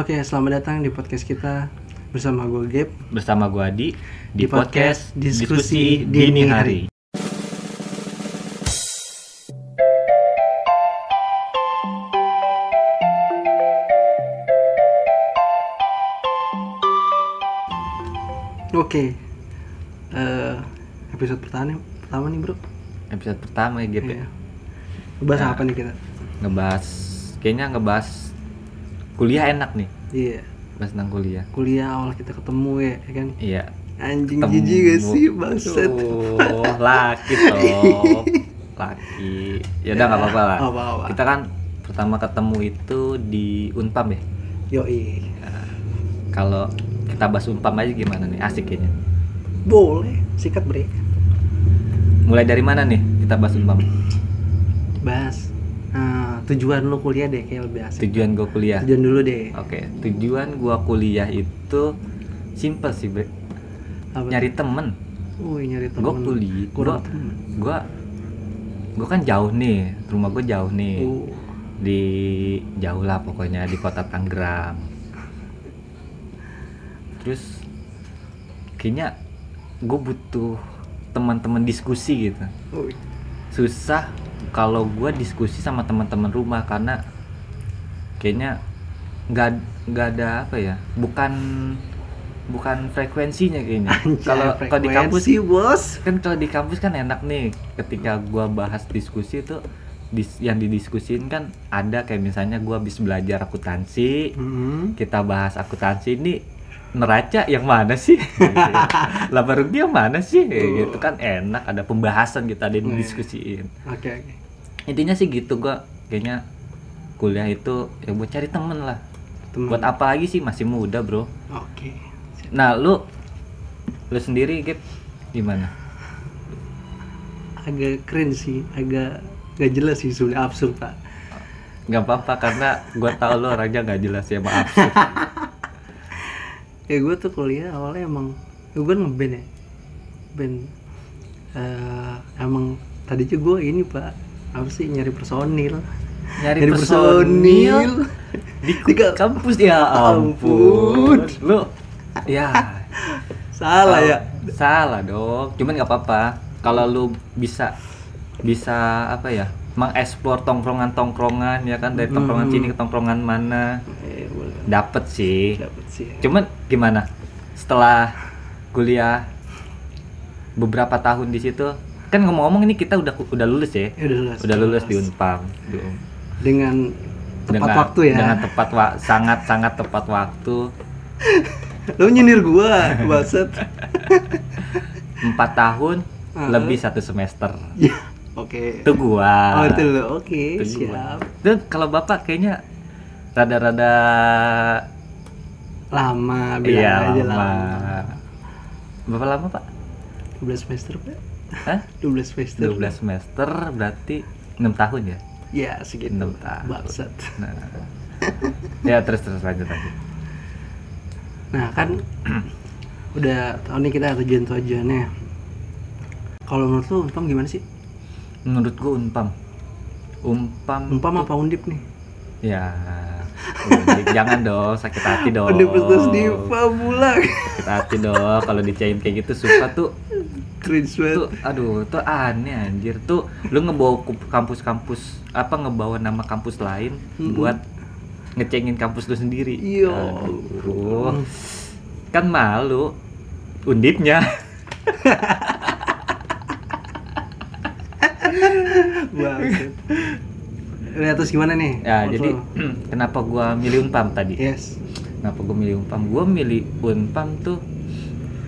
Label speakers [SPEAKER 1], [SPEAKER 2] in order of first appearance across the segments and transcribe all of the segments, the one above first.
[SPEAKER 1] Oke, selamat datang di podcast kita bersama gue Gap.
[SPEAKER 2] bersama gua Adi
[SPEAKER 1] Di
[SPEAKER 2] di,
[SPEAKER 1] podcast
[SPEAKER 2] podcast,
[SPEAKER 1] Diskusi
[SPEAKER 2] diskusi
[SPEAKER 1] Dini
[SPEAKER 2] dini hari.
[SPEAKER 1] Oke, eh, episode pertama nih, pertama nih bro.
[SPEAKER 2] Episode pertama ya Gap ya.
[SPEAKER 1] Iya. Bahas
[SPEAKER 2] Ya.
[SPEAKER 1] apa nih kita?
[SPEAKER 2] Ngebahas kayaknya ngebahas kuliah enak nih,
[SPEAKER 1] Iya,
[SPEAKER 2] bahas tentang kuliah.
[SPEAKER 1] kuliah awal kita ketemu ya, ya kan?
[SPEAKER 2] Iya.
[SPEAKER 1] Anjing
[SPEAKER 2] Temu-
[SPEAKER 1] jijik gak sih bangset?
[SPEAKER 2] Aduh, laki toh. laki. Ya udah nggak apa-apa lah.
[SPEAKER 1] Nggak apa-apa.
[SPEAKER 2] Kita kan pertama ketemu itu di Unpam ya.
[SPEAKER 1] Yoi,
[SPEAKER 2] Kalau kita bahas Unpam aja gimana nih? Asik kayaknya.
[SPEAKER 1] boleh sikat break.
[SPEAKER 2] Mulai dari mana nih kita bahas Unpam?
[SPEAKER 1] Bahas eh, tujuan lu kuliah deh, kayak lebih asik.
[SPEAKER 2] Tujuan gua kuliah.
[SPEAKER 1] Tujuan dulu deh.
[SPEAKER 2] Oke, tujuan gua kuliah itu simple sih, Bre.
[SPEAKER 1] Apa?
[SPEAKER 2] Nyari temen.
[SPEAKER 1] Wih nyari temen.
[SPEAKER 2] Gua kuliah, gua,
[SPEAKER 1] Kurang Hmm. temen.
[SPEAKER 2] gua, gua kan jauh nih, rumah gua jauh nih,
[SPEAKER 1] Oh,
[SPEAKER 2] di jauh lah pokoknya di kota Tangerang. Terus kayaknya gue butuh teman-teman diskusi gitu.
[SPEAKER 1] wih.
[SPEAKER 2] Susah kalau gua diskusi sama teman-teman rumah karena kayaknya nggak nggak ada apa ya, bukan bukan frekuensinya kayaknya.
[SPEAKER 1] Anjay,
[SPEAKER 2] Kalau kalau di kampus
[SPEAKER 1] frekuensi, bos.
[SPEAKER 2] kan kalau di kampus kan enak nih ketika gua bahas diskusi itu dis- yang didiskusin kan ada kayak misalnya gua habis belajar akuntansi
[SPEAKER 1] Hmm.
[SPEAKER 2] kita bahas akuntansi ini neraca yang mana sih laba rugi yang mana sih Kayak
[SPEAKER 1] Tuh.
[SPEAKER 2] gitu kan enak ada pembahasan kita ada yang
[SPEAKER 1] Iya.
[SPEAKER 2] didiskusiin
[SPEAKER 1] Oke oke.
[SPEAKER 2] intinya sih gitu gua kayaknya kuliah itu ya buat cari temen lah
[SPEAKER 1] Temen.
[SPEAKER 2] buat apa lagi sih masih muda bro
[SPEAKER 1] Oke.
[SPEAKER 2] nah lu lu sendiri Gap, gimana
[SPEAKER 1] Agak keren sih, agak nggak jelas sih sudah absurd pak.
[SPEAKER 2] nggak apa-apa karena gua tau lo orangnya nggak jelas ya maaf
[SPEAKER 1] Ya gue tuh kuliah awalnya emang ya gue ngeband ya, band eh, emang tadinya gue ini pak apa sih nyari personil
[SPEAKER 2] nyari
[SPEAKER 1] Nyari personil.
[SPEAKER 2] personil di ku-
[SPEAKER 1] Tiga-
[SPEAKER 2] kampus ya
[SPEAKER 1] Ampun.
[SPEAKER 2] ampun lu ya
[SPEAKER 1] salah ya
[SPEAKER 2] salah dong cuman nggak apa-apa kalau lu bisa bisa apa ya mengeksplor tongkrongan-tongkrongan ya kan dari tongkrongan
[SPEAKER 1] Hmm.
[SPEAKER 2] sini ke tongkrongan mana
[SPEAKER 1] eh boleh
[SPEAKER 2] dapet sih
[SPEAKER 1] dapet sih ya.
[SPEAKER 2] cuman gimana setelah kuliah beberapa tahun di situ kan ngomong-ngomong ini kita udah udah lulus ya
[SPEAKER 1] Ya, udah lulus
[SPEAKER 2] udah lulus di Unpam
[SPEAKER 1] dengan tepat
[SPEAKER 2] Dengan-
[SPEAKER 1] waktu ya
[SPEAKER 2] dengan tepat wa- sangat sangat tepat waktu
[SPEAKER 1] lo nyindir gua baset
[SPEAKER 2] empat tahun
[SPEAKER 1] Ah.
[SPEAKER 2] lebih satu semester
[SPEAKER 1] ya oke
[SPEAKER 2] itu gua
[SPEAKER 1] oh itu lo oke
[SPEAKER 2] Itu gua.
[SPEAKER 1] siap
[SPEAKER 2] Dan kalau bapak kayaknya rada-rada
[SPEAKER 1] lama bilang
[SPEAKER 2] iya
[SPEAKER 1] aja
[SPEAKER 2] lama
[SPEAKER 1] lama
[SPEAKER 2] berapa lama pak?
[SPEAKER 1] 12 semester pak
[SPEAKER 2] Hah?
[SPEAKER 1] 12 semester
[SPEAKER 2] 12 semester berarti 6 tahun ya?
[SPEAKER 1] ya segitu
[SPEAKER 2] Enam tahun.
[SPEAKER 1] bangsat
[SPEAKER 2] Nah. ya terus terus lanjut lagi.
[SPEAKER 1] nah kan udah tahun ini kita tujuan tujuannya kalau menurut lu umpam gimana sih
[SPEAKER 2] Menurut gua unpam. Hmm. Umpam
[SPEAKER 1] umpam apa undip nih
[SPEAKER 2] ya udik. jangan dong sakit hati dong
[SPEAKER 1] universitas diva bulan
[SPEAKER 2] sakit hati dong kalau dicain kayak gitu suka tuh
[SPEAKER 1] cringe banget
[SPEAKER 2] tuh aduh tuh aneh anjir tuh lu ngebawa ku- kampus-kampus apa ngebawa nama kampus lain
[SPEAKER 1] Mm-mm.
[SPEAKER 2] buat ngecengin kampus lu sendiri
[SPEAKER 1] Iya.
[SPEAKER 2] Aduh. kan malu undipnya
[SPEAKER 1] bangsat Nah, terus gimana nih?
[SPEAKER 2] ya
[SPEAKER 1] Menurut
[SPEAKER 2] jadi
[SPEAKER 1] lu?
[SPEAKER 2] kenapa gua milih unpam tadi
[SPEAKER 1] yes.
[SPEAKER 2] kenapa gua milih unpam gua milih unpam tuh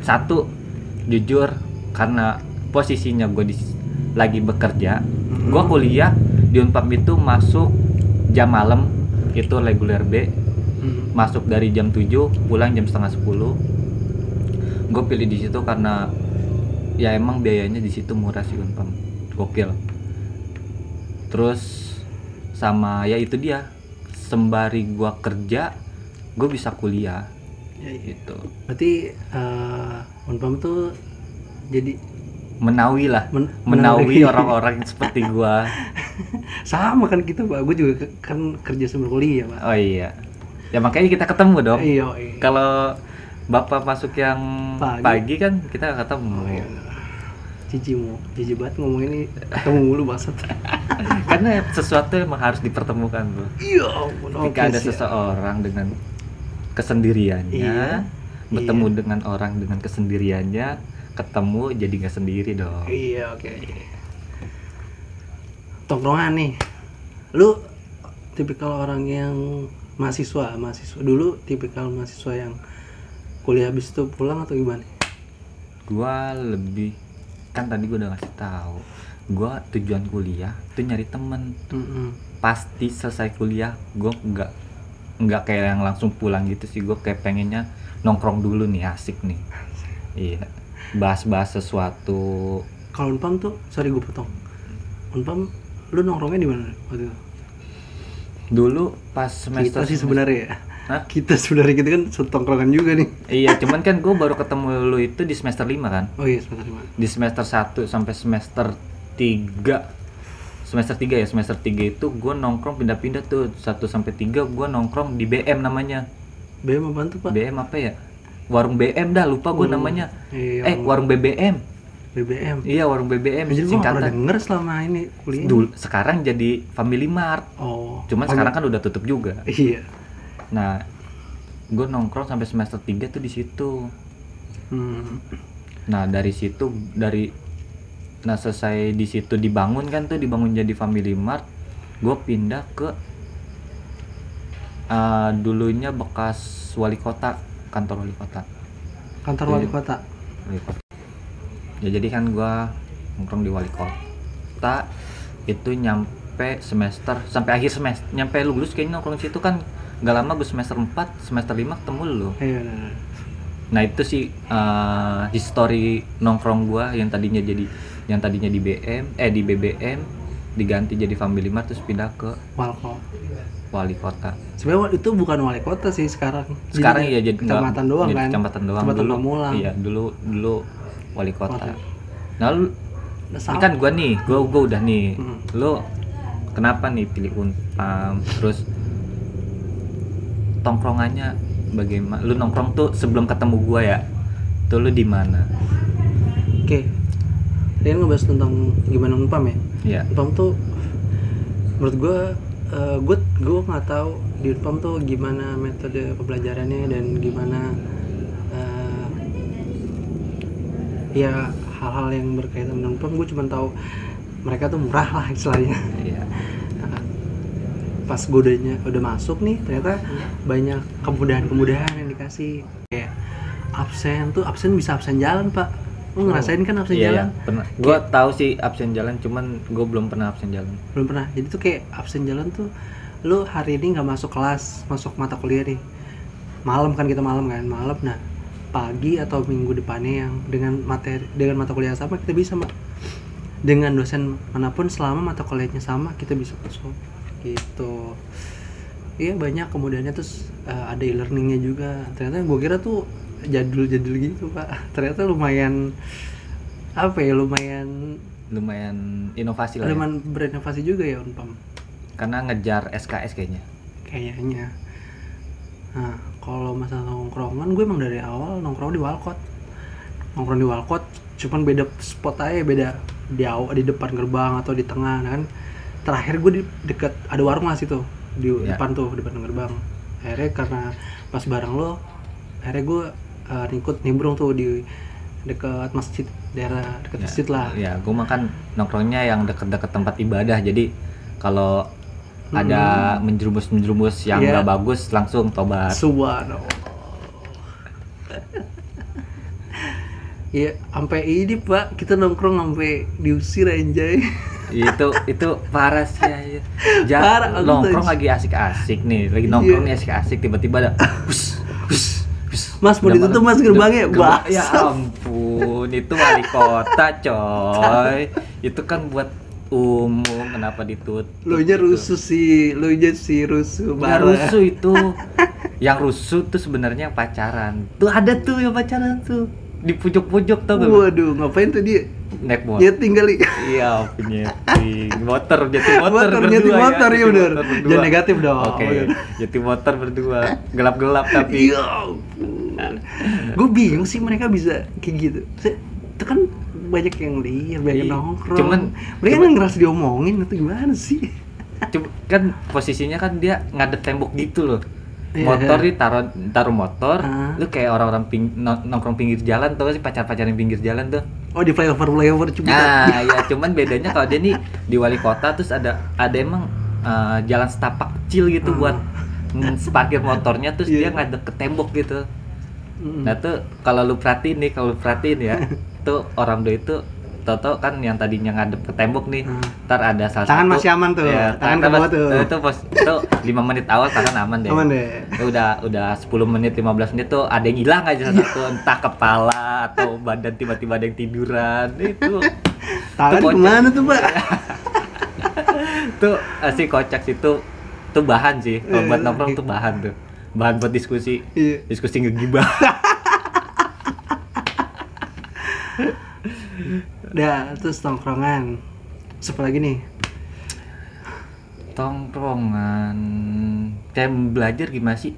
[SPEAKER 2] satu jujur karena posisinya gua di lagi bekerja
[SPEAKER 1] Mm-hmm.
[SPEAKER 2] gua kuliah di unpam itu masuk jam malam itu reguler B
[SPEAKER 1] Hmm.
[SPEAKER 2] masuk dari jam 7 pulang jam setengah 10 gue pilih di situ karena ya emang biayanya di situ murah sih Unpam gokil terus sama ya itu dia sembari gua kerja gue bisa kuliah
[SPEAKER 1] Ya, ya.
[SPEAKER 2] gitu
[SPEAKER 1] Berarti eh Unpam tuh jadi
[SPEAKER 2] menawi lah
[SPEAKER 1] men-
[SPEAKER 2] menawi orang-orang seperti gua
[SPEAKER 1] sama kan kita pak gue juga ke- kan kerja sambil kuliah pak
[SPEAKER 2] oh iya ya makanya kita ketemu dong
[SPEAKER 1] Iya, iya.
[SPEAKER 2] kalau bapak masuk yang
[SPEAKER 1] Pagi.
[SPEAKER 2] pagi, kan kita nggak ketemu
[SPEAKER 1] Oh, iya. Cici mau, cici banget ngomongin ini ketemu mulu bangsat.
[SPEAKER 2] karena sesuatu emang harus dipertemukan bro
[SPEAKER 1] Iya, ampun.
[SPEAKER 2] ketika
[SPEAKER 1] Oke,
[SPEAKER 2] ada
[SPEAKER 1] siap.
[SPEAKER 2] seseorang dengan kesendiriannya
[SPEAKER 1] Iya.
[SPEAKER 2] bertemu
[SPEAKER 1] Iya.
[SPEAKER 2] dengan orang dengan kesendiriannya ketemu jadi nggak sendiri dong
[SPEAKER 1] Iya, oke. Tongkrongan nih. Lu tipikal orang yang mahasiswa, mahasiswa dulu tipikal mahasiswa yang kuliah habis itu pulang atau gimana?
[SPEAKER 2] gua lebih kan tadi gua udah ngasih tahu gua tujuan kuliah tuh nyari temen
[SPEAKER 1] Mm-mm.
[SPEAKER 2] pasti selesai kuliah gua nggak nggak kayak yang langsung pulang gitu sih gua kayak pengennya nongkrong dulu nih asik nih iya bahas-bahas sesuatu
[SPEAKER 1] Kalau Unpam tuh, sorry gue potong. Unpam lu nongkrongnya di mana waktu itu?
[SPEAKER 2] dulu pas semester
[SPEAKER 1] Kita sih sebenarnya ya.
[SPEAKER 2] Hah?
[SPEAKER 1] Kita sebenarnya kita kan setongkrongan juga nih.
[SPEAKER 2] iya cuman kan gua baru ketemu lu itu di semester 5 kan
[SPEAKER 1] Oh iya, sebentar gimana?
[SPEAKER 2] di semester 1 sampai semester 3 semester 3 ya semester 3 itu gue nongkrong pindah-pindah tuh 1 sampai 3 gue nongkrong di BM namanya
[SPEAKER 1] BM apaan tuh, Pak?
[SPEAKER 2] BM apa ya warung BM dah lupa gue
[SPEAKER 1] Warung-
[SPEAKER 2] namanya
[SPEAKER 1] iya,
[SPEAKER 2] eh warung BBM
[SPEAKER 1] BBM.
[SPEAKER 2] iya warung BBM
[SPEAKER 1] Anjir gue pernah
[SPEAKER 2] singkatan
[SPEAKER 1] denger selama ini kuliah.
[SPEAKER 2] dulu sekarang jadi Family Mart
[SPEAKER 1] Oh.
[SPEAKER 2] cuman
[SPEAKER 1] Oh,
[SPEAKER 2] sekarang kan udah tutup juga
[SPEAKER 1] Iya.
[SPEAKER 2] nah gue nongkrong sampai semester 3 tuh di situ
[SPEAKER 1] Hmm.
[SPEAKER 2] Nah dari situ dari nah selesai di situ dibangun kan tuh dibangun jadi Family Mart, gue pindah ke eh, dulunya bekas wali kota kantor wali kota.
[SPEAKER 1] Kantor
[SPEAKER 2] Iya.
[SPEAKER 1] wali kota.
[SPEAKER 2] Wali kota. Ya jadi kan gue nongkrong di wali kota itu nyampe semester sampai akhir semester nyampe lulus kayaknya nongkrong situ kan nggak lama gue semester 4 semester 5 ketemu lu
[SPEAKER 1] Iya, iya, iya.
[SPEAKER 2] Nah itu sih eh history nongkrong gua yang tadinya jadi yang tadinya di BM eh di BBM diganti jadi Family Mart terus pindah ke
[SPEAKER 1] Walko.
[SPEAKER 2] wali kota.
[SPEAKER 1] Sebenarnya wa- itu bukan wali kota sih sekarang.
[SPEAKER 2] Sekarang
[SPEAKER 1] Jadinya
[SPEAKER 2] ya jadi
[SPEAKER 1] kecamatan
[SPEAKER 2] nggak-
[SPEAKER 1] doang
[SPEAKER 2] jadi
[SPEAKER 1] kan.
[SPEAKER 2] Kecamatan doang
[SPEAKER 1] Kecamatan
[SPEAKER 2] dulu.
[SPEAKER 1] Pamulang.
[SPEAKER 2] Iya, dulu dulu wali kota.
[SPEAKER 1] Kota.
[SPEAKER 2] Nah, lu
[SPEAKER 1] Udah
[SPEAKER 2] ini
[SPEAKER 1] salah.
[SPEAKER 2] kan gua nih, gua gua udah nih.
[SPEAKER 1] Mm.
[SPEAKER 2] Lu kenapa nih pilih Unpam terus tongkrongannya bagaimana? Lu nongkrong tuh sebelum ketemu gua ya. Tuh lu di mana?
[SPEAKER 1] Oke. Tadi kan ngebahas tentang gimana Unpam ya.
[SPEAKER 2] Ya.
[SPEAKER 1] Unpam tuh menurut gue gue gue nggak tahu di Unpam tuh gimana metode pembelajarannya dan gimana eh, ya hal-hal yang berkaitan dengan Unpam gue cuma tahu mereka tuh murah lah istilahnya
[SPEAKER 2] Iya.
[SPEAKER 1] Nah, pas gue udah, ny- udah masuk nih ternyata banyak kemudahan-kemudahan yang dikasih kayak absen tuh absen bisa absen jalan pak lu ngerasain kan absen
[SPEAKER 2] Iya,
[SPEAKER 1] jalan
[SPEAKER 2] iya, pernah. Gua tahu sih absen jalan, cuman gue belum pernah absen jalan.
[SPEAKER 1] belum pernah jadi tuh kayak absen jalan tuh lu hari ini nggak masuk kelas masuk mata kuliah nih malam kan kita malam kan malam nah pagi atau minggu depannya yang dengan materi dengan mata kuliah sama kita bisa Mak. dengan dosen manapun selama mata kuliahnya sama kita bisa masuk gitu iya banyak kemudiannya terus eh, ada e-learningnya juga ternyata gue kira tuh jadul-jadul gitu pak ternyata lumayan apa ya lumayan
[SPEAKER 2] Lumayan inovasi lah. ya.
[SPEAKER 1] lumayan berinovasi juga ya Unpam
[SPEAKER 2] Karena ngejar SKS kayaknya.
[SPEAKER 1] kayaknya nah kalau masalah nongkrongan gue emang dari awal nongkrong di Walcott nongkrong di Walcott cuman beda spot aja beda di aw- di depan gerbang atau di tengah nah kan terakhir gue di deket ada warung lah situ di
[SPEAKER 2] Ya.
[SPEAKER 1] depan tuh depan gerbang akhirnya karena pas bareng lo akhirnya gue eh, ngikut nimbrung tuh di dekat masjid daerah dekat masjid lah
[SPEAKER 2] Ya, gue makan nongkrongnya yang deket-deket tempat ibadah. Jadi kalau ada menjerumus-menjerumus yang
[SPEAKER 1] Hmm. Iya.
[SPEAKER 2] nggak bagus langsung tobat.
[SPEAKER 1] Subhanallah. Iya, sampai ini Pak, kita nongkrong sampai diusir anjay.
[SPEAKER 2] itu itu parah sih ya. Ja,
[SPEAKER 1] Parah, Iya. aku
[SPEAKER 2] nongkrong
[SPEAKER 1] tuh.
[SPEAKER 2] lagi asik-asik nih, lagi nongkrong nih asik-asik tiba-tiba ada hus, hus, hus.
[SPEAKER 1] Mas, mau
[SPEAKER 2] Udah
[SPEAKER 1] ditutup,
[SPEAKER 2] malam.
[SPEAKER 1] Mas, gerbangnya?
[SPEAKER 2] Gerba-
[SPEAKER 1] Bangsat.
[SPEAKER 2] ya ampun, itu wali kota coy. itu kan buat umum kenapa ditutup?
[SPEAKER 1] Lo nya rusuh sih, lo nya si rusuh
[SPEAKER 2] Nggak
[SPEAKER 1] parah.
[SPEAKER 2] Ya, rusuh itu. yang rusuh tuh sebenarnya yang pacaran. Tuh ada tuh yang pacaran tuh. di pojok-pojok tau gak lu?
[SPEAKER 1] Waduh, ngapain tuh dia?
[SPEAKER 2] naik motor
[SPEAKER 1] Nyeting kali.
[SPEAKER 2] iya penyeting motor nyeting motor
[SPEAKER 1] Motor,
[SPEAKER 2] berdua
[SPEAKER 1] nyeting motor,
[SPEAKER 2] ya
[SPEAKER 1] iya
[SPEAKER 2] nyeting
[SPEAKER 1] bener.
[SPEAKER 2] motor berdua.
[SPEAKER 1] Jangan negatif dong.
[SPEAKER 2] oke
[SPEAKER 1] Bener.
[SPEAKER 2] nyeting motor berdua gelap-gelap tapi
[SPEAKER 1] Iya. Gue bingung sih mereka bisa kayak gitu. Se- Itu kan banyak yang lihat, banyak yang
[SPEAKER 2] Iya.
[SPEAKER 1] nongkrong.
[SPEAKER 2] Cuman-
[SPEAKER 1] mereka
[SPEAKER 2] cuman-
[SPEAKER 1] nggak ngerasa diomongin atau gimana sih?
[SPEAKER 2] Cuma kan posisinya kan dia ngadet tembok gitu loh.
[SPEAKER 1] Iya.
[SPEAKER 2] Motor ditaruh taruh motor,
[SPEAKER 1] Ah.
[SPEAKER 2] lu kayak orang-orang ping- nong- nongkrong pinggir jalan tuh sih pacar-pacaran pinggir jalan tuh.
[SPEAKER 1] Oh di flyover flyover cuma
[SPEAKER 2] Nah, ya cuman bedanya kalau dia nih di wali kota terus ada ada emang eh, jalan setapak kecil gitu
[SPEAKER 1] Ah.
[SPEAKER 2] buat mm, parkir motornya terus
[SPEAKER 1] Iya.
[SPEAKER 2] dia ngadet ke tembok gitu.
[SPEAKER 1] Mm.
[SPEAKER 2] Nah tuh kalau lu perhatiin nih, kalau lu perhatiin ya, tuh orang doi itu Toto kan yang tadinya ngadep ke tembok nih,
[SPEAKER 1] Hmm.
[SPEAKER 2] ntar ada salah
[SPEAKER 1] Tangan
[SPEAKER 2] satu-
[SPEAKER 1] masih aman tuh,
[SPEAKER 2] Iya,
[SPEAKER 1] tangan ke bawah
[SPEAKER 2] mas-
[SPEAKER 1] tuh.
[SPEAKER 2] Itu pos itu 5 menit awal tangan aman deh.
[SPEAKER 1] Aman deh.
[SPEAKER 2] Udah udah 10 menit 15 menit tuh ada yang hilang aja salah
[SPEAKER 1] Iya.
[SPEAKER 2] satu entah kepala atau badan tiba-tiba ada yang tiduran itu
[SPEAKER 1] Tangan
[SPEAKER 2] Itu kocak.
[SPEAKER 1] kemana tuh pak?
[SPEAKER 2] itu eh, si kocak situ tuh bahan sih kalau buat
[SPEAKER 1] Eh.
[SPEAKER 2] nongkrong tuh bahan tuh bahan buat diskusi
[SPEAKER 1] Iya.
[SPEAKER 2] diskusi ngegibah
[SPEAKER 1] Udah terus tongkrongan. Siapa lagi nih?
[SPEAKER 2] tongkrongan kayak belajar gimana sih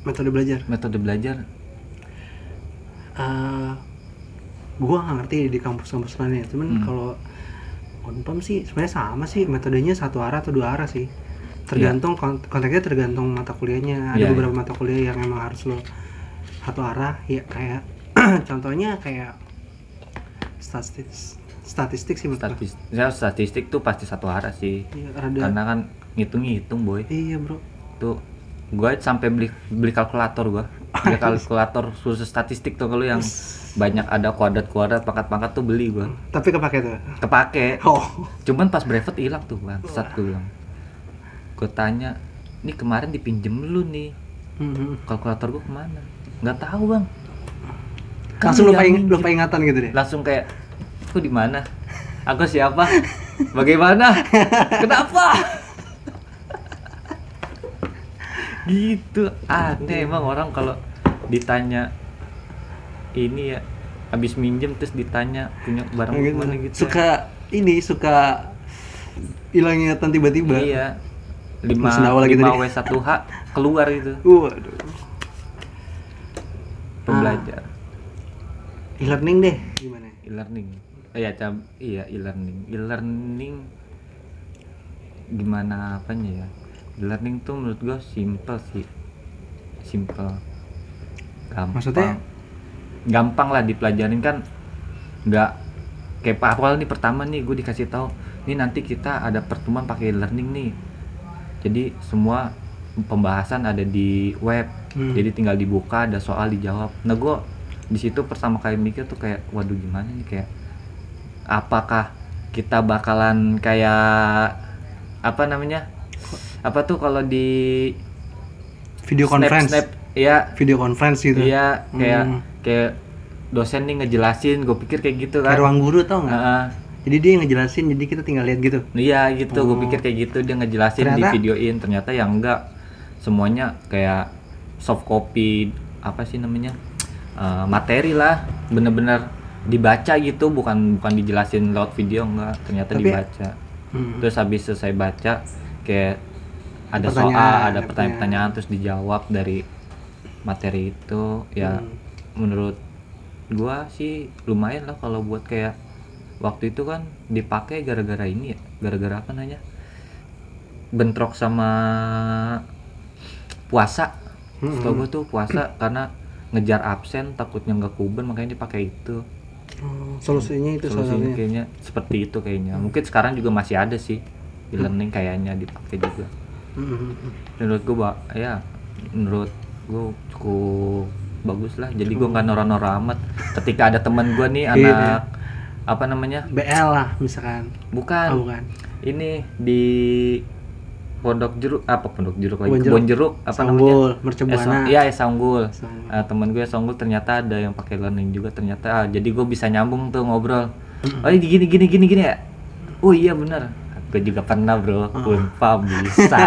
[SPEAKER 1] Metode belajar.
[SPEAKER 2] metode belajar
[SPEAKER 1] eh gua nggak ngerti di kampus-kampus lain ya cuman
[SPEAKER 2] Hmm.
[SPEAKER 1] kalau unpam sih sebenarnya sama sih metodenya satu arah atau dua arah sih tergantung kon- konteksnya tergantung mata kuliahnya ada
[SPEAKER 2] Iya,
[SPEAKER 1] beberapa mata kuliah yang emang harus lo satu arah ya kayak contohnya kayak statistik statistik sih menurut gua.
[SPEAKER 2] statistik saya ya, statistik tuh pasti satu arah sih
[SPEAKER 1] Iya, rada-
[SPEAKER 2] karena kan ngitung-ngitung boy
[SPEAKER 1] iya bro
[SPEAKER 2] tuh gue sampai beli beli kalkulator gua beli kalkulator khusus statistik tuh kalau yang banyak ada kuadrat kuadrat pangkat pangkat tuh beli gua
[SPEAKER 1] tapi kepake tuh
[SPEAKER 2] kepake
[SPEAKER 1] oh
[SPEAKER 2] cuman pas brevet hilang tuh bang saat gue bilang gue tanya ini kemarin dipinjem lu nih
[SPEAKER 1] Mhm.
[SPEAKER 2] kalkulator gua kemana nggak tahu bang Kan
[SPEAKER 1] langsung
[SPEAKER 2] lu
[SPEAKER 1] lupa,
[SPEAKER 2] yang
[SPEAKER 1] ing- lupa ingatan gitu deh
[SPEAKER 2] langsung kayak aku di mana aku siapa bagaimana kenapa gitu aneh emang orang kalau ditanya ini ya habis minjem terus ditanya punya barang
[SPEAKER 1] Nah, gitu.
[SPEAKER 2] mana gitu ya.
[SPEAKER 1] suka ini suka hilang ingatan tiba-tiba
[SPEAKER 2] iya lima
[SPEAKER 1] Mesin awal lagi
[SPEAKER 2] lima
[SPEAKER 1] tadi. Ah.
[SPEAKER 2] w 1 h keluar gitu. itu
[SPEAKER 1] Waduh.
[SPEAKER 2] pembelajar
[SPEAKER 1] E-learning deh gimana?
[SPEAKER 2] e-learning eh, ya cam iya e-learning e-learning gimana apanya ya e-learning tuh menurut gua simple sih simple gampang
[SPEAKER 1] Maksudnya?
[SPEAKER 2] gampang lah dipelajarin kan nggak kayak Pak awal nih pertama nih gue dikasih tahu nih nanti kita ada pertemuan pakai e-learning nih jadi semua pembahasan ada di web
[SPEAKER 1] Hmm.
[SPEAKER 2] jadi tinggal dibuka ada soal dijawab nah gue di situ pertama kali mikir tuh kayak waduh gimana nih kayak apakah kita bakalan kayak apa namanya apa tuh kalau di
[SPEAKER 1] Video
[SPEAKER 2] snap-
[SPEAKER 1] conference.
[SPEAKER 2] snap, ya
[SPEAKER 1] Video conference gitu.
[SPEAKER 2] Iya, kayak
[SPEAKER 1] Hmm.
[SPEAKER 2] kayak dosen nih ngejelasin, gue pikir kayak gitu
[SPEAKER 1] Kayak
[SPEAKER 2] kan.
[SPEAKER 1] ruang guru tau nggak?
[SPEAKER 2] Heeh.
[SPEAKER 1] Jadi dia yang ngejelasin, jadi kita tinggal lihat gitu.
[SPEAKER 2] Iya gitu, gue
[SPEAKER 1] Oh.
[SPEAKER 2] pikir kayak gitu dia ngejelasin
[SPEAKER 1] Ternyata-
[SPEAKER 2] di videoin, ternyata ya enggak. Semuanya kayak soft copy apa sih namanya? Eh, materi lah, bener-bener dibaca gitu, bukan bukan dijelasin lewat video enggak, ternyata
[SPEAKER 1] Tapi-
[SPEAKER 2] dibaca.
[SPEAKER 1] Hmm.
[SPEAKER 2] Terus habis selesai baca kayak ada soal,
[SPEAKER 1] Pertanyaan, ya.
[SPEAKER 2] ada
[SPEAKER 1] ada
[SPEAKER 2] pertanyaan-pertanyaan terus dijawab dari materi itu ya
[SPEAKER 1] Hmm.
[SPEAKER 2] menurut gua sih lumayan lah kalau buat kayak waktu itu kan dipakai gara-gara ini ya gara-gara apa namanya bentrok sama puasa
[SPEAKER 1] Mm-mm.
[SPEAKER 2] setahu gua tuh puasa karena ngejar absen takutnya nggak kuben makanya dipakai itu
[SPEAKER 1] Oh, solusinya itu
[SPEAKER 2] solusinya
[SPEAKER 1] solusinya.
[SPEAKER 2] kayaknya seperti itu kayaknya mungkin sekarang juga masih ada sih e-learning kayaknya dipakai juga
[SPEAKER 1] Hmm,
[SPEAKER 2] menurut gue ba- ya menurut gue cukup bagus lah jadi gue nggak nora-nora amat ketika ada teman gue nih
[SPEAKER 1] Iya.
[SPEAKER 2] anak apa namanya
[SPEAKER 1] BL lah misalkan. Oh,
[SPEAKER 2] bukan
[SPEAKER 1] bukan.
[SPEAKER 2] ini di pondok jeruk apa pondok jeruk
[SPEAKER 1] Kebun
[SPEAKER 2] lagi
[SPEAKER 1] jeruk.
[SPEAKER 2] kebun jeruk apa namanya
[SPEAKER 1] Sanggul,
[SPEAKER 2] Eh,
[SPEAKER 1] mercebuana.
[SPEAKER 2] Song- iya ya sanggul
[SPEAKER 1] Sanggul.
[SPEAKER 2] Eh, temen gue sanggul ternyata ada yang pakai learning juga ternyata ah, jadi gue bisa nyambung tuh ngobrol oh ini gini gini gini gini ya oh iya benar gue juga pernah bro
[SPEAKER 1] Ah.
[SPEAKER 2] unpa bisa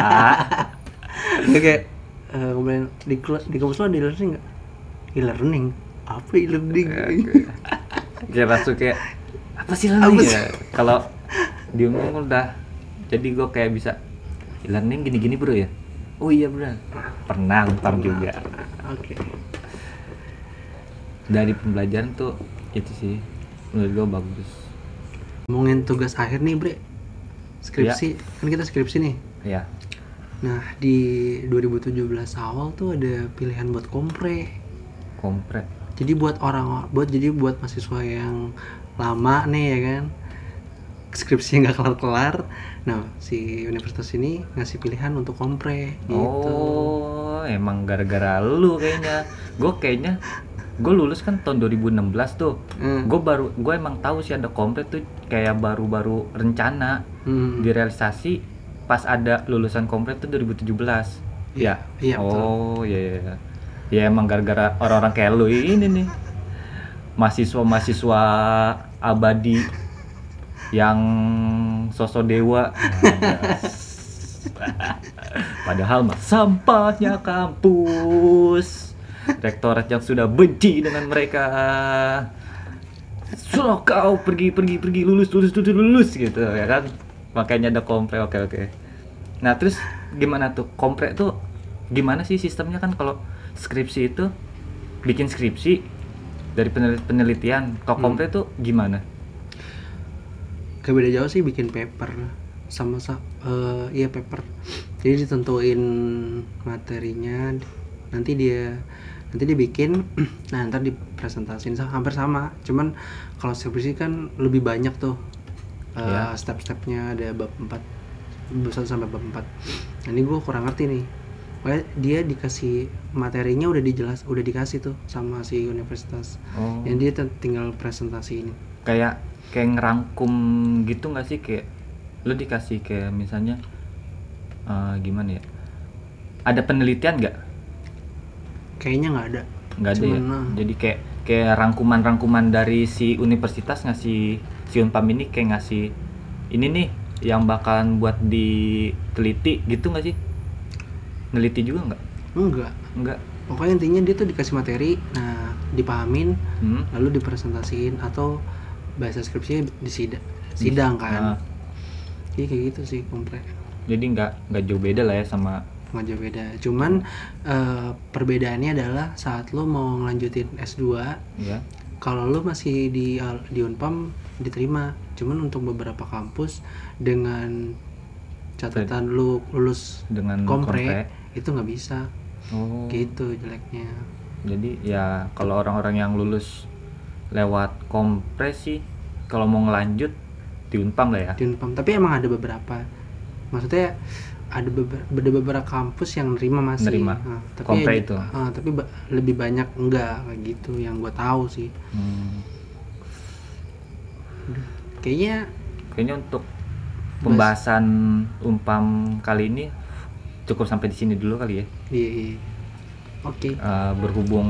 [SPEAKER 1] Oke. Eh, kemudian di, kela- di kampus lo ada e-learning nggak? E-learning. apa ya learning
[SPEAKER 2] kayak langsung kayak apa sih
[SPEAKER 1] Apa
[SPEAKER 2] learning
[SPEAKER 1] sih?
[SPEAKER 2] ya kalau di umum udah jadi gue kayak bisa learning gini-gini bro ya oh iya benar pernah lupa juga
[SPEAKER 1] oke
[SPEAKER 2] dari pembelajaran tuh itu sih menurut gue bagus
[SPEAKER 1] ngomongin tugas akhir nih bre skripsi kan kita skripsi nih
[SPEAKER 2] ya
[SPEAKER 1] nah di 2017 awal tuh ada pilihan buat kompre
[SPEAKER 2] kompre
[SPEAKER 1] jadi buat orang buat jadi buat mahasiswa yang lama nih ya kan skripsinya nggak kelar-kelar nah si universitas ini ngasih pilihan untuk kompre gitu
[SPEAKER 2] oh emang gara-gara lu kayaknya gue kayaknya gue lulus kan tahun 2016 tuh
[SPEAKER 1] Hmm.
[SPEAKER 2] gue baru gue emang tahu sih ada kompre tuh kayak baru-baru rencana
[SPEAKER 1] Hmm.
[SPEAKER 2] direalisasi pas ada lulusan kompre tuh 2017 ya
[SPEAKER 1] Iya, betul.
[SPEAKER 2] oh ya ya ya. ya emang gara-gara orang-orang kayak lu ini nih mahasiswa-mahasiswa abadi yang sosok dewa padahal mah sampahnya kampus rektorat yang sudah benci dengan mereka suruh kau pergi pergi pergi lulus lulus lulus lulus gitu ya kan makanya ada kompre oke oke nah terus gimana tuh kompre tuh gimana sih sistemnya kan kalau skripsi itu bikin skripsi dari penel- penelitian kalau
[SPEAKER 1] Hmm.
[SPEAKER 2] kompre tuh gimana
[SPEAKER 1] Gak beda jauh sih bikin paper sama sa eh, iya paper. Jadi ditentuin materinya nanti dia nanti dia bikin nah ntar dipresentasiin sa- hampir sama cuman kalau skripsi kan lebih banyak tuh eh,
[SPEAKER 2] Iya.
[SPEAKER 1] step-stepnya ada bab 4 bab 1 sampai bab 4 nah, ini gue kurang ngerti nih Pokoknya dia dikasih materinya udah dijelas udah dikasih tuh sama si universitas
[SPEAKER 2] oh
[SPEAKER 1] yang dia ten- tinggal presentasi ini
[SPEAKER 2] kayak kayak ngerangkum gitu nggak sih kayak lu dikasih kayak misalnya eh, gimana ya ada penelitian nggak
[SPEAKER 1] kayaknya nggak ada
[SPEAKER 2] nggak ada ya
[SPEAKER 1] Cuman, nah.
[SPEAKER 2] jadi kayak kayak rangkuman-rangkuman dari si universitas ngasih si unpam ini kayak ngasih ini nih yang bakalan buat diteliti gitu nggak sih neliti juga nggak
[SPEAKER 1] enggak
[SPEAKER 2] nggak
[SPEAKER 1] pokoknya intinya dia tuh dikasih materi nah dipahamin
[SPEAKER 2] hmm?
[SPEAKER 1] lalu dipresentasiin atau bahasa skripsinya di sida- sidang
[SPEAKER 2] Nah,
[SPEAKER 1] kan jadi kayak gitu sih komplek
[SPEAKER 2] jadi nggak nggak jauh beda lah ya sama
[SPEAKER 1] nggak jauh beda cuman eh, perbedaannya adalah saat lo mau ngelanjutin S2
[SPEAKER 2] ya
[SPEAKER 1] kalau lo masih di al- di Unpam diterima cuman untuk beberapa kampus dengan catatan lo lulus
[SPEAKER 2] dengan
[SPEAKER 1] kompre itu nggak bisa
[SPEAKER 2] Oh.
[SPEAKER 1] gitu jeleknya
[SPEAKER 2] jadi ya kalau orang-orang yang lulus lewat kompresi kalau mau ngelanjut di unpam lah ya
[SPEAKER 1] di Unpam tapi emang ada beberapa maksudnya ada beberapa ada beberapa kampus yang nerima masih
[SPEAKER 2] Nerima.
[SPEAKER 1] Nah, tapi
[SPEAKER 2] Kompre itu.
[SPEAKER 1] ah, tapi ba- lebih banyak enggak kayak gitu yang gue tahu sih
[SPEAKER 2] Hmm.
[SPEAKER 1] kayaknya
[SPEAKER 2] kayaknya untuk pembahasan umpam kali ini cukup sampai di sini dulu kali ya
[SPEAKER 1] iya, iya. oke
[SPEAKER 2] Eh, berhubung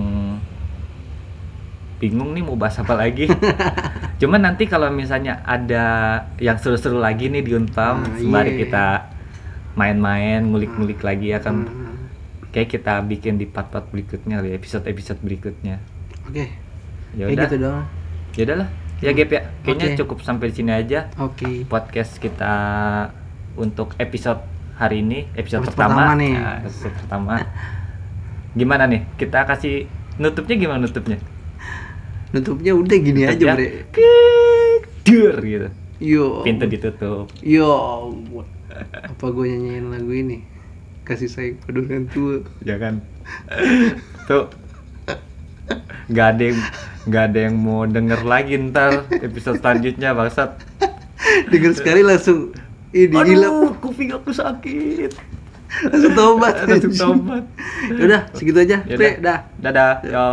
[SPEAKER 2] bingung nih mau bahas apa lagi cuman nanti kalau misalnya ada yang seru-seru lagi nih di unpam
[SPEAKER 1] Ah,
[SPEAKER 2] sembari
[SPEAKER 1] iya.
[SPEAKER 2] kita main-main ngulik-ngulik lagi ya kan
[SPEAKER 1] Hmm,
[SPEAKER 2] kayak kita bikin di part-part berikutnya kali ya, episode-episode berikutnya
[SPEAKER 1] oke
[SPEAKER 2] ya
[SPEAKER 1] kayak
[SPEAKER 2] udah
[SPEAKER 1] gitu doang
[SPEAKER 2] ya udahlah ya Gep ya kayaknya
[SPEAKER 1] Oke.
[SPEAKER 2] cukup sampai di sini aja
[SPEAKER 1] oke
[SPEAKER 2] podcast kita untuk episode hari ini
[SPEAKER 1] Episode
[SPEAKER 2] episode pertama,
[SPEAKER 1] pertama nih.
[SPEAKER 2] Nah, episode pertama gimana nih kita kasih nutupnya gimana nutupnya
[SPEAKER 1] nutupnya udah gini aja
[SPEAKER 2] Nutupnya,
[SPEAKER 1] bre
[SPEAKER 2] kik, dur gitu
[SPEAKER 1] yo
[SPEAKER 2] pintu ditutup
[SPEAKER 1] yo ampun. apa gue nyanyiin lagu ini kasih sayang pada orang tua
[SPEAKER 2] jangan Ya kan? tuh nggak ada yang nggak ada yang mau denger lagi ntar episode selanjutnya bangsat
[SPEAKER 1] denger sekali langsung ini hilap
[SPEAKER 2] Aduh, kuping aku sakit.
[SPEAKER 1] langsung tobat
[SPEAKER 2] Langsung tobat.
[SPEAKER 1] udah segitu aja
[SPEAKER 2] Yaudah.
[SPEAKER 1] Bre, dah
[SPEAKER 2] Dadah, yo.